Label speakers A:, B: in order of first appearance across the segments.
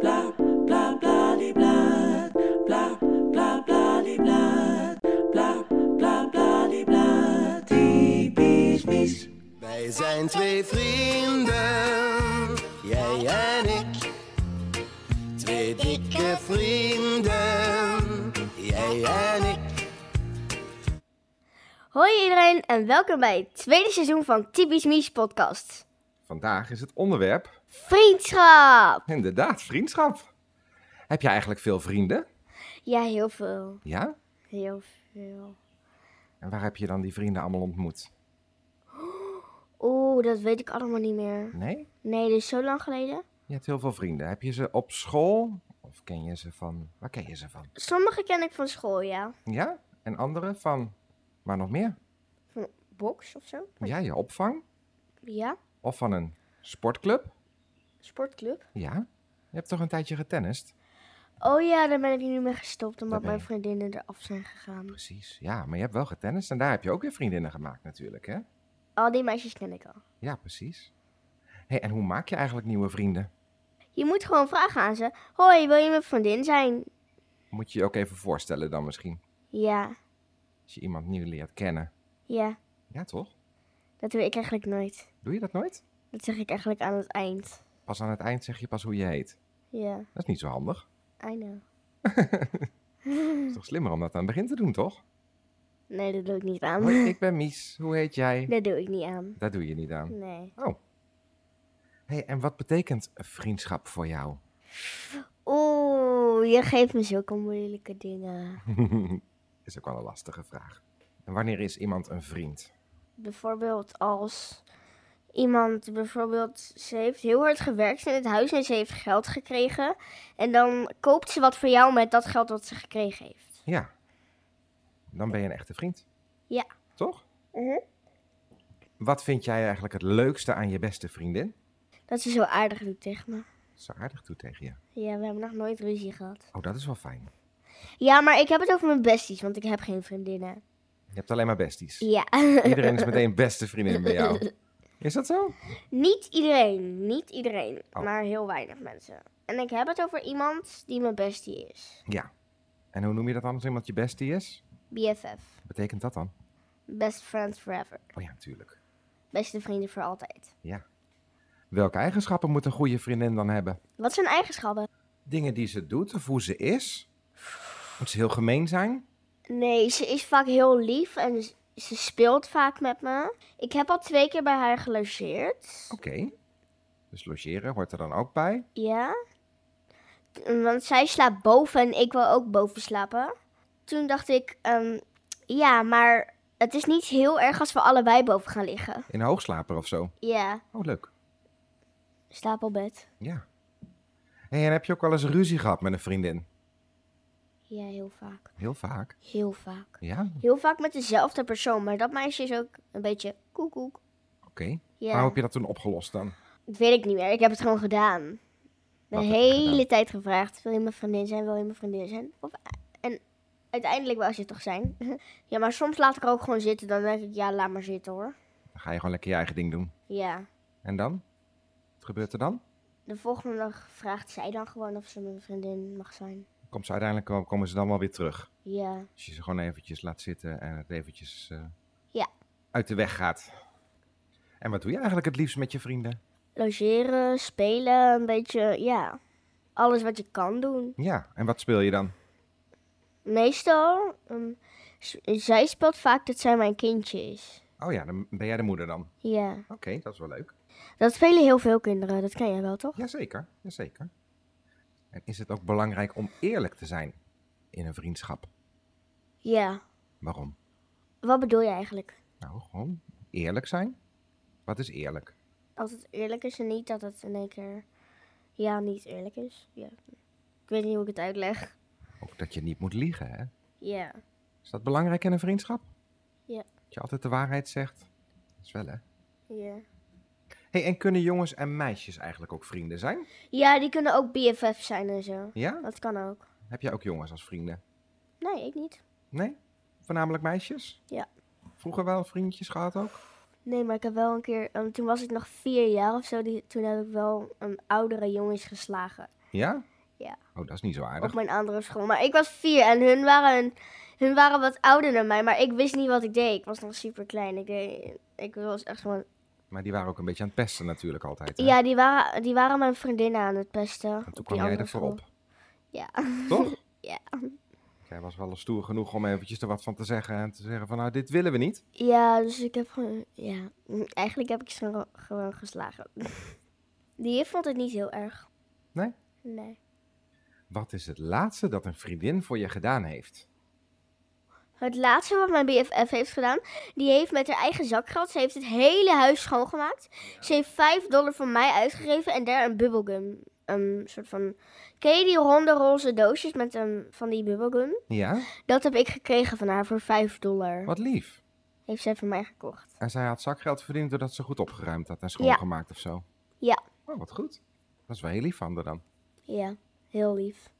A: bla bla bla die bla bla bla bla die bla bla bla bla die bla typisch mis.
B: Wij zijn twee vrienden, jij en ik. Twee dikke vrienden, jij en ik.
C: Hoi iedereen en welkom bij het tweede seizoen van Typisch Mies podcast.
D: Vandaag is het onderwerp
C: Vriendschap!
D: inderdaad vriendschap. Heb je eigenlijk veel vrienden?
C: Ja, heel veel.
D: Ja?
C: Heel veel.
D: En waar heb je dan die vrienden allemaal ontmoet?
C: Oeh, dat weet ik allemaal niet meer.
D: Nee?
C: Nee, dit is zo lang geleden.
D: Je hebt heel veel vrienden. Heb je ze op school? Of ken je ze van... Waar ken je ze van?
C: Sommige ken ik van school, ja.
D: Ja? En andere van... Maar nog meer?
C: Van box of zo.
D: Ja, je opvang?
C: Ja,
D: Of van een sportclub?
C: sportclub.
D: Ja? Je hebt toch een tijdje getennist?
C: Oh ja, daar ben ik nu mee gestopt omdat
D: ben
C: mijn
D: je.
C: vriendinnen eraf zijn gegaan.
D: Precies. Ja, maar je hebt wel getennist en daar heb je ook weer vriendinnen gemaakt natuurlijk, hè?
C: Al die meisjes ken ik al.
D: Ja, precies. hey, en hoe maak je eigenlijk nieuwe vrienden?
C: Je moet gewoon vragen aan ze. Hoi, wil je mijn vriendin zijn?
D: Moet je je ook even voorstellen dan misschien.
C: Ja,
D: Als je iemand nieuw leert kennen.
C: ja.
D: Ja, toch?
C: Dat doe ik eigenlijk nooit.
D: Doe je dat nooit?
C: Dat zeg ik eigenlijk aan het eind.
D: Pas aan het eind zeg je pas hoe je heet.
C: Ja.
D: Dat is niet zo handig.
C: I know.
D: Het is toch slimmer om dat aan het begin te doen, toch?
C: Nee, dat doe ik niet aan.
D: Hoi, ik ben Mies. Hoe heet jij?
C: Dat doe ik niet aan.
D: Dat doe je niet aan.
C: Nee.
D: Oh. hey, en wat betekent vriendschap voor jou?
C: Oeh, je geeft me zulke moeilijke dingen.
D: is ook wel een lastige vraag. En wanneer is iemand een vriend?
C: Bijvoorbeeld als iemand, bijvoorbeeld, ze heeft heel hard gewerkt in het huis en ze heeft geld gekregen. En dan koopt ze wat voor jou met dat geld wat ze gekregen heeft.
D: Ja. Dan ben je een echte vriend.
C: Ja. Mhm.
D: Toch? Wat vind jij eigenlijk het leukste aan je beste vriendin?
C: Dat ze zo aardig doet tegen me.
D: Ze aardig toe tegen je.
C: Ja, we hebben nog nooit ruzie gehad.
D: Oh, dat is wel fijn.
C: Ja, maar ik heb het over mijn besties, want ik heb geen vriendinnen.
D: Je hebt alleen maar besties.
C: Ja.
D: Iedereen is meteen beste vriendin bij jou. Is dat zo?
C: Niet iedereen, niet iedereen,
D: Oh.
C: maar heel weinig mensen. En ik heb het over iemand die mijn bestie is.
D: Ja. En hoe noem je dat dan als iemand je bestie is?
C: BFF,
D: Wat betekent dat dan?
C: best friends forever,
D: Oh ja, natuurlijk.
C: beste vrienden voor altijd.
D: Ja. Welke eigenschappen moet een goede vriendin dan hebben?
C: Wat zijn eigenschappen?
D: Dingen die ze doet of hoe ze is? Moet ze heel gemeen zijn?
C: Nee, ze is vaak heel lief en z- ze speelt vaak met me. Ik heb al twee keer bij haar gelogeerd.
D: Oké. Dus logeren hoort er dan ook bij.
C: Ja. T- Want zij slaapt boven en ik wil ook boven slapen. Toen dacht ik, ehm, ja, maar het is niet heel erg als we allebei boven gaan liggen.
D: In een hoogslaper of zo.
C: Ja,
D: Oh, leuk.
C: stapelbed.
D: Ja. Hey, en heb je ook wel eens ruzie gehad met een vriendin?
C: Ja, heel vaak.
D: Heel vaak.
C: Heel vaak.
D: Ja, oké.
C: Heel vaak met dezelfde persoon, maar dat meisje is ook een beetje koekoek. Ja,
D: Hoe heb je dat toen opgelost dan?
C: dat weet ik niet meer. Ik heb het gewoon gedaan. De
D: Wat heb je
C: hele
D: gedaan?
C: tijd gevraagd, wil je mijn vriendin zijn, wil je mijn vriendin zijn? Of, en uiteindelijk wou ze het toch zijn. ja, maar soms laat ik er ook gewoon zitten. Dan denk ik, ja, laat maar zitten hoor.
D: Dan ga je gewoon lekker je eigen ding doen.
C: Ja.
D: En dan? Wat gebeurt er dan?
C: De volgende dag vraagt zij dan gewoon of ze mijn vriendin mag zijn.
D: Komt ze uiteindelijk ko- komen ze dan wel weer terug.
C: Ja.
D: Als je ze gewoon eventjes laat zitten en het eventjes eh,
C: Ja.
D: uit de weg gaat. En wat doe je eigenlijk het liefst met je vrienden?
C: Logeren, spelen, een beetje, ja. Alles wat je kan doen.
D: Ja, en wat speel je dan?
C: Meestal, ehm, z- zij speelt vaak dat zij mijn kindje is.
D: Oh ja, dan ben jij de moeder dan.
C: Ja.
D: Oké, dat is wel leuk.
C: Dat spelen heel veel kinderen, dat ken jij wel toch?
D: Jazeker, jazeker. En is het ook belangrijk om eerlijk te zijn in een vriendschap?
C: Ja.
D: Waarom?
C: Wat bedoel je eigenlijk?
D: Nou, gewoon eerlijk zijn. Wat is eerlijk?
C: Als het eerlijk is en niet dat het in één keer, ja, niet eerlijk is. Ja. Ik weet niet hoe ik het uitleg.
D: Ook dat je niet moet liegen, hè?
C: Ja.
D: Is dat belangrijk in een vriendschap?
C: Ja.
D: Dat je altijd de waarheid zegt? Dat is wel, hè?
C: Ja.
D: Hey, en kunnen jongens en meisjes eigenlijk ook vrienden zijn?
C: Ja, die kunnen ook BFF zijn en zo.
D: Ja?
C: Dat kan ook.
D: Heb jij ook jongens als vrienden?
C: Nee, ik niet.
D: Nee? Voornamelijk meisjes?
C: Ja.
D: Vroeger wel vriendjes gehad ook?
C: Nee, maar ik heb wel een keer, ehm, toen was ik nog vier jaar of zo, die, toen heb ik wel een oudere jongens geslagen.
D: Ja?
C: Ja.
D: Oh, dat is niet zo aardig.
C: op mijn andere school. Maar ik was vier en hun waren, hun waren wat ouder dan mij. Maar ik wist niet wat ik deed. Ik was nog super klein. Ik, deed, ik was echt gewoon...
D: Maar die waren ook een beetje aan het pesten natuurlijk altijd. hè?
C: Ja, die waren, die waren mijn vriendinnen aan het pesten.
D: En
C: op
D: toen
C: die
D: kwam jij
C: andere
D: er
C: school.
D: voorop.
C: Ja.
D: Toch?
C: Ja.
D: Jij was wel stoer genoeg om eventjes er wat van te zeggen en te zeggen van nou, dit willen we niet.
C: Ja, dus ik heb gewoon... Ja, eigenlijk heb ik ze gewoon- gewoon geslagen. Die vond het niet heel erg.
D: Nee?
C: Nee.
D: Wat is het laatste dat een vriendin voor je gedaan heeft?
C: Het laatste wat mijn BFF heeft gedaan, die heeft met haar eigen zakgeld, ze heeft het hele huis schoongemaakt. Ze heeft 5 dollar van mij uitgegeven en daar een bubblegum. Een soort van, ken je die ronde roze doosjes met een, van die bubblegum?
D: Ja?
C: Dat heb ik gekregen van haar voor 5 dollar.
D: Wat lief.
C: Heeft zij van mij gekocht.
D: En zij had zakgeld verdiend doordat ze goed opgeruimd had en schoongemaakt of zo.
C: Ja.
D: Oh, wat goed. Dat is wel heel lief van haar dan.
C: Ja, heel lief.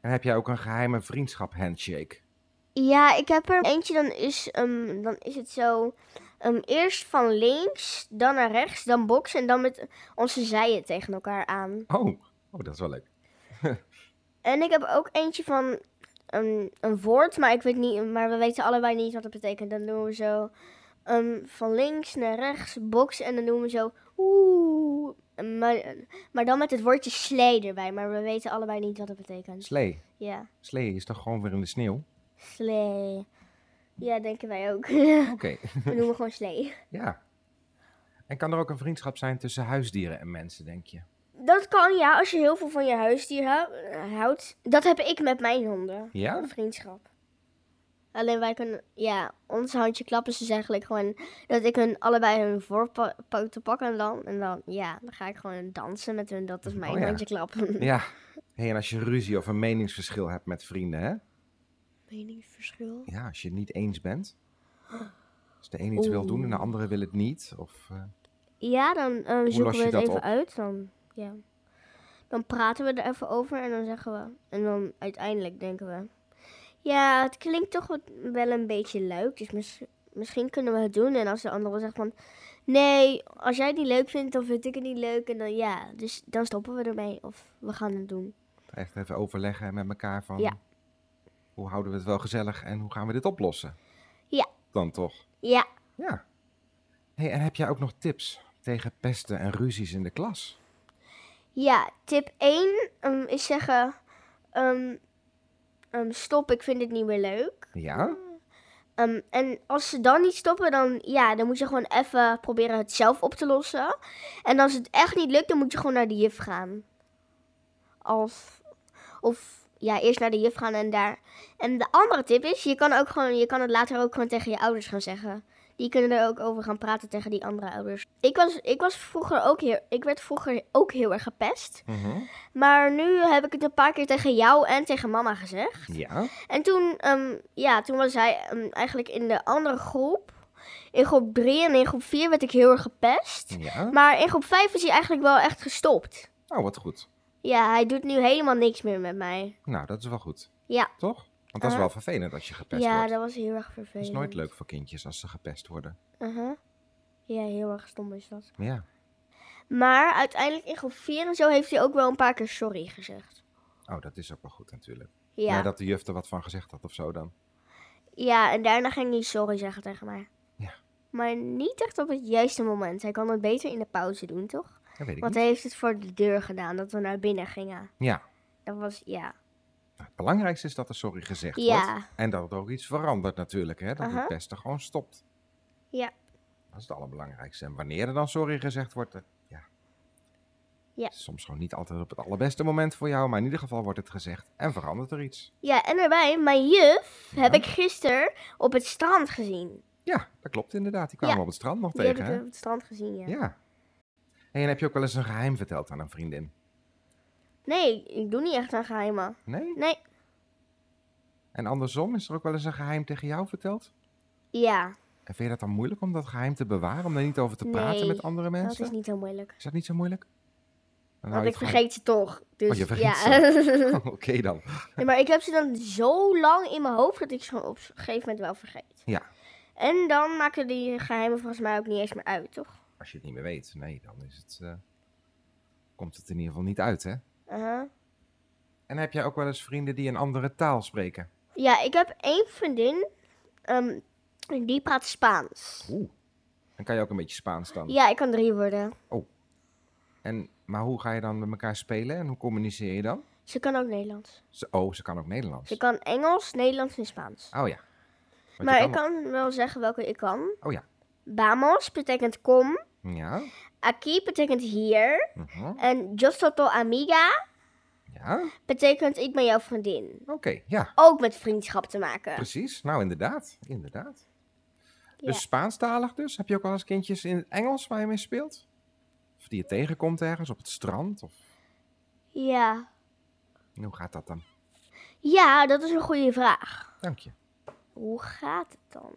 D: En heb jij ook een geheime vriendschap handshake?
C: Ja, ik heb er eentje, dan is, ehm, dan is het zo. ehm, eerst van links, dan naar rechts, dan boksen en dan met onze zijen tegen elkaar aan.
D: Oh, oh dat is wel leuk.
C: En ik heb ook eentje van een, een woord, maar ik weet niet, maar we weten allebei niet wat het betekent. Dan doen we zo ehm, van links naar rechts boksen en dan doen we zo oeh. Maar, maar dan met het woordje slee erbij, maar we weten allebei niet wat het betekent.
D: Slee.
C: Ja,
D: Slee is toch gewoon weer in de sneeuw?
C: slee. Ja, denken wij ook.
D: Oké,
C: we noemen gewoon slee.
D: ja. En kan er ook een vriendschap zijn tussen huisdieren en mensen, denk je?
C: Dat kan ja, als je heel veel van je huisdier hou- houdt. Dat heb ik met mijn honden.
D: Ja?
C: Vriendschap. Alleen wij kunnen, ja, ons handje klappen is dus eigenlijk gewoon dat ik hun allebei hun voorpoten pak en dan, en dan, ja, dan ga ik gewoon dansen met hun. Dat is mijn
D: Oh ja.
C: handje klappen.
D: Ja. Hey, en als je ruzie of een meningsverschil hebt met vrienden, hè?
C: Meningsverschil.
D: Ja, als je het niet eens bent. Als de een iets wil doen en de andere wil het niet. Of, eh,
C: Ja, dan eh, zoeken
D: los
C: we
D: je
C: het
D: dat
C: even
D: op?
C: uit. Dan, ja. dan praten we er even over en dan zeggen we. En dan uiteindelijk denken we. Ja, het klinkt toch wat- wel een beetje leuk. Dus mis- misschien kunnen we het doen. En als de andere zegt van. Nee, als jij het niet leuk vindt, dan vind ik het niet leuk. En dan ja, dus dan stoppen we ermee. Of we gaan het doen.
D: echt even overleggen met elkaar van...
C: Ja.
D: Hoe houden we het wel gezellig en hoe gaan we dit oplossen?
C: Ja.
D: Dan toch?
C: Ja,
D: Ja. Hey, en heb jij ook nog tips tegen pesten en ruzies in de klas?
C: ja tip 1 ehm, is zeggen. ehm, ehm, stop, ik vind dit niet meer leuk.
D: Ja?
C: Ehm, en als ze dan niet stoppen, dan, ja, dan moet je gewoon even proberen het zelf op te lossen. En als het echt niet lukt, dan moet je gewoon naar de juf gaan. Of, of ja, eerst naar de juf gaan en daar. En de andere tip is, je kan, ook gewoon, je kan het later ook gewoon tegen je ouders gaan zeggen. Die kunnen er ook over gaan praten tegen die andere ouders. Ik was, ik was vroeger ook heel, ik werd vroeger ook heel erg gepest.
D: Mhm.
C: Maar nu heb ik het een paar keer tegen jou en tegen mama gezegd.
D: Ja?
C: En toen, ehm, ja, toen was hij ehm, eigenlijk in de andere groep. In groep 3 en in groep 4 werd ik heel erg gepest.
D: Ja?
C: Maar in groep 5 is hij eigenlijk wel echt gestopt.
D: Oh, wat goed.
C: Ja, hij doet nu helemaal niks meer met mij.
D: Nou, dat is wel goed.
C: Ja,
D: Toch? Want dat is
C: Ah.
D: wel vervelend als je gepest
C: ja
D: wordt.
C: dat was heel erg
D: Dat
C: vervelend.
D: is nooit leuk voor kindjes als ze gepest worden.
C: Uh-huh. Ja, heel erg stom is dat.
D: Ja.
C: Maar uiteindelijk in groep 4 en zo heeft hij ook wel een paar keer sorry gezegd.
D: Oh, dat is ook wel goed natuurlijk.
C: Ja,
D: Maar dat de juf er wat van gezegd had of zo dan.
C: ja en daarna ging hij sorry zeggen tegen mij.
D: Ja.
C: Maar niet echt op het juiste moment. Hij kan het beter in de pauze doen, toch?
D: Dat weet ik
C: Want
D: niet.
C: hij heeft het voor de deur gedaan, dat we naar binnen gingen.
D: Ja.
C: Dat was, ja.
D: Nou, het belangrijkste is dat er sorry gezegd wordt.
C: Ja.
D: En dat er ook iets verandert natuurlijk. Hè? Dat
C: Aha.
D: het pesten gewoon stopt.
C: Ja.
D: Dat is het allerbelangrijkste. En wanneer er dan sorry gezegd wordt, dat- ja.
C: Ja.
D: Is Soms gewoon niet altijd op het allerbeste moment voor jou, maar in ieder geval wordt het gezegd en verandert er iets.
C: Ja, en daarbij, mijn juf heb ik gisteren op het strand gezien.
D: Ja, dat klopt inderdaad. Die kwamen
C: Ja.
D: op het strand nog
C: Die
D: tegen.
C: heb
D: hè?
C: ik op het strand gezien, ja.
D: Ja. Hey, en heb je ook wel eens een geheim verteld aan een vriendin?
C: Nee, ik doe niet echt aan geheimen.
D: Nee?
C: Nee,
D: En andersom, is er ook wel eens een geheim tegen jou verteld?
C: ja,
D: En vind je dat dan moeilijk om dat geheim te bewaren? Om daar niet over te praten
C: Nee,
D: met andere mensen?
C: dat is niet zo moeilijk.
D: Is dat niet zo moeilijk? Nou, Dan hou
C: Want
D: je het gewoon-
C: ik vergeet ze toch. Dus
D: Oh, je vergeet
C: ja.
D: Oh, Oké dan.
C: Nee, maar ik heb ze dan zo lang in mijn hoofd dat ik ze op een gegeven moment wel vergeet.
D: Ja.
C: En dan maken die geheimen volgens mij ook niet eens meer uit, toch?
D: Als je het niet meer weet, nee, dan is het, eh, komt het in ieder geval niet uit, hè?
C: Uh-huh.
D: En heb jij ook wel eens vrienden die een andere taal spreken?
C: Ja, ik heb één vriendin. ehm, die praat Spaans.
D: Oeh. Dan kan je ook een beetje Spaans dan.
C: Ja, ik kan drie worden.
D: En, maar hoe ga je dan met elkaar spelen en hoe communiceer je dan?
C: Ze kan ook Nederlands.
D: Ze, oh, ze kan ook Nederlands.
C: Ze kan Engels, Nederlands en Spaans.
D: Oh ja. Want je
C: maar ik
D: wel-
C: kan wel zeggen welke ik kan.
D: Oh ja.
C: Vamos betekent kom.
D: Ja.
C: Aquí betekent hier.
D: mhm,
C: En yo soy tu amiga
D: Ja.
C: betekent ik ben jouw vriendin.
D: Oké. Ja,
C: Ook met vriendschap te maken.
D: precies. Nou, inderdaad. Inderdaad.
C: Ja.
D: Dus Spaanstalig dus? Heb je ook wel eens kindjes in het Engels waar je mee speelt? Of die je tegenkomt ergens op het strand? Of
C: Ja.
D: en hoe gaat dat dan?
C: Ja, dat is een goede vraag.
D: Dank je.
C: Hoe gaat het dan?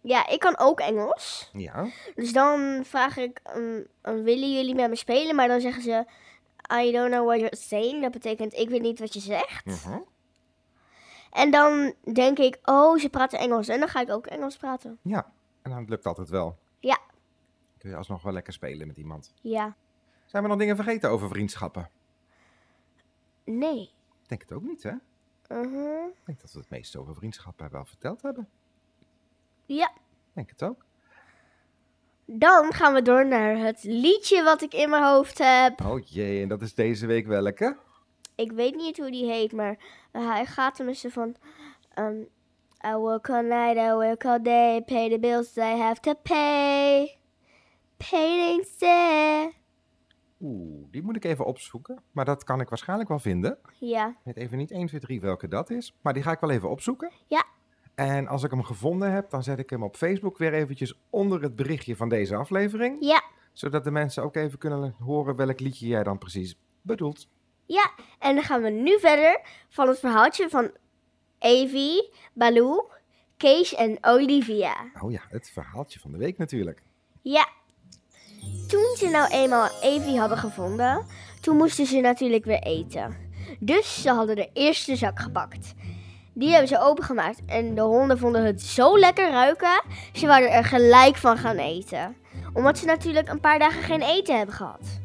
C: Ja, ik kan ook Engels.
D: Ja.
C: Dus dan vraag ik, ehm, ehm, willen jullie met me spelen? Maar dan zeggen ze, I don't know what you're saying. Dat betekent, ik weet niet wat je zegt.
D: mhm.
C: En dan denk ik, oh, ze praten Engels. En dan ga ik ook Engels praten.
D: Ja. En dan lukt altijd wel.
C: Ja.
D: Kun je alsnog wel lekker spelen met iemand.
C: Ja.
D: Zijn we nog dingen vergeten over vriendschappen?
C: Nee.
D: Ik denk het ook niet, hè?
C: Mhm.
D: Ik denk dat we het meeste over vriendschappen wel verteld hebben.
C: Ja.
D: Ik denk het ook.
C: Dan gaan we door naar het liedje wat ik in mijn hoofd heb.
D: Oh jee, en dat is deze week welke?
C: Ik weet niet hoe die heet, maar eh, hij gaat tenminste van... ehm, I work all night, I work all day, pay the bills I have to pay. Painting's there.
D: Oeh, die moet ik even opzoeken. Maar dat kan ik waarschijnlijk wel vinden.
C: Ja.
D: Ik weet even niet 1, 2, 3 welke dat is. Maar die ga ik wel even opzoeken.
C: Ja.
D: En als ik hem gevonden heb, dan zet ik hem op Facebook weer eventjes onder het berichtje van deze aflevering.
C: Ja.
D: Zodat de mensen ook even kunnen horen welk liedje jij dan precies bedoelt.
C: Ja. En dan gaan we nu verder van het verhaaltje van Evie, Baloo, Kees en Olivia.
D: Oh ja, het verhaaltje van de week natuurlijk.
C: Ja. Toen ze nou eenmaal Evie hadden gevonden, toen moesten ze natuurlijk weer eten. Dus ze hadden de eerste zak gepakt. Die hebben ze opengemaakt en de honden vonden het zo lekker ruiken, ze waren er gelijk van gaan eten. Omdat ze natuurlijk een paar dagen geen eten hebben gehad.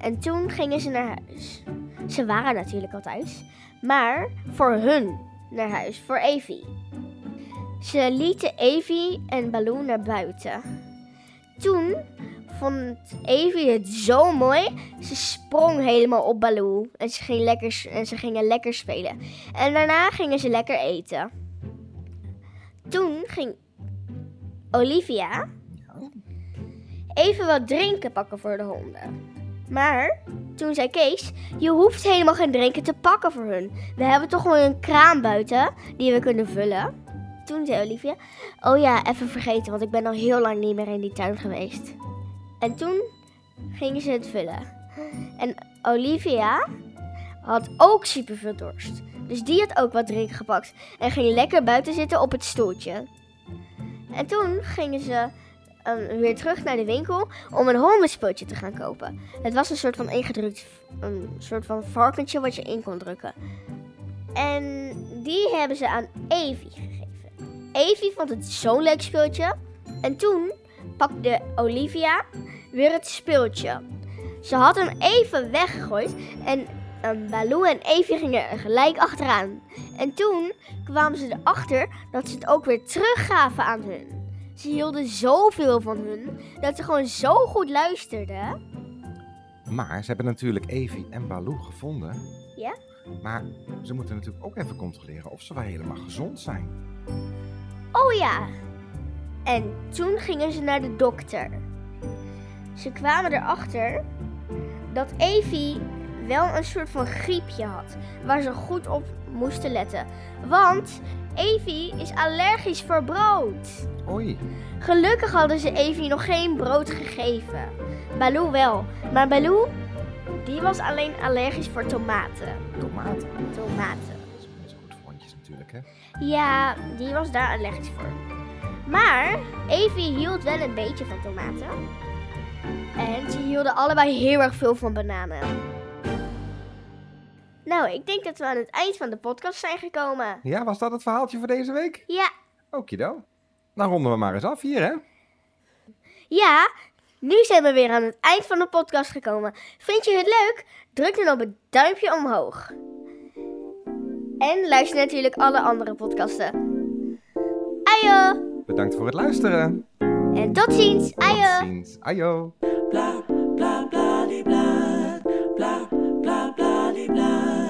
C: En toen gingen ze naar huis. Ze waren natuurlijk al thuis, maar voor hun naar huis, voor Evie. Ze lieten Evie en Baloo naar buiten. Toen vond Evie het zo mooi. Ze sprong helemaal op Baloo. En ze, ging lekker, s- en ze gingen lekker spelen. En daarna gingen ze lekker eten. Toen ging Olivia even wat drinken pakken voor de honden. Maar toen zei Kees, je hoeft helemaal geen drinken te pakken voor hun. We hebben toch gewoon een kraan buiten die we kunnen vullen. Toen zei Olivia, Oh ja, even vergeten, want ik ben al heel lang niet meer in die tuin geweest. En toen gingen ze het vullen. En Olivia had ook superveel dorst. Dus die had ook wat drinken gepakt en ging lekker buiten zitten op het stoeltje. En toen gingen ze ehm, weer terug naar de winkel om een hondenspultje te gaan kopen. Het was een soort van ingedrukt, een soort van varkentje wat je in kon drukken. En die hebben ze aan Evie gegeven. Evie vond het zo'n leuk speeltje. En toen pakte Olivia weer het speeltje. Ze had hem even weggegooid en ehm, Baloo en Evie gingen er gelijk achteraan. En toen kwamen ze erachter dat ze het ook weer teruggaven aan hun. Ze hielden zoveel van hun dat ze gewoon zo goed luisterden.
D: Maar ze hebben natuurlijk Evie en Baloo gevonden.
C: Ja?
D: Maar ze moeten natuurlijk ook even controleren of ze wel helemaal gezond zijn.
C: Oh ja. En toen gingen ze naar de dokter. Ze kwamen erachter dat Evie wel een soort van griepje had, waar ze goed op moesten letten. Want Evie is allergisch voor brood.
D: Oei.
C: Gelukkig hadden ze Evie nog geen brood gegeven. Baloo wel, maar Baloo, die was alleen allergisch voor tomaten.
D: Tomaten.
C: Tomaten.
D: Dat is niet zo goed voor hondjes natuurlijk, hè?
C: Ja, die was daar allergisch voor. Maar Evie hield wel een beetje van tomaten. En ze hielden allebei heel erg veel van bananen. Nou, ik denk dat we aan het eind van de podcast zijn gekomen.
D: Ja, was dat het verhaaltje voor deze week?
C: Ja,
D: Okido. Dan ronden we maar eens af hier, hè?
C: ja, nu zijn we weer aan het eind van de podcast gekomen. Vind je het leuk? Druk dan op het duimpje omhoog. En luister natuurlijk alle andere podcasten. Ajo!
D: Bedankt voor het luisteren.
C: En tot ziens! Ajo!
D: Tot ziens. Ajo.
A: blah blah blah blah blah blah blah blah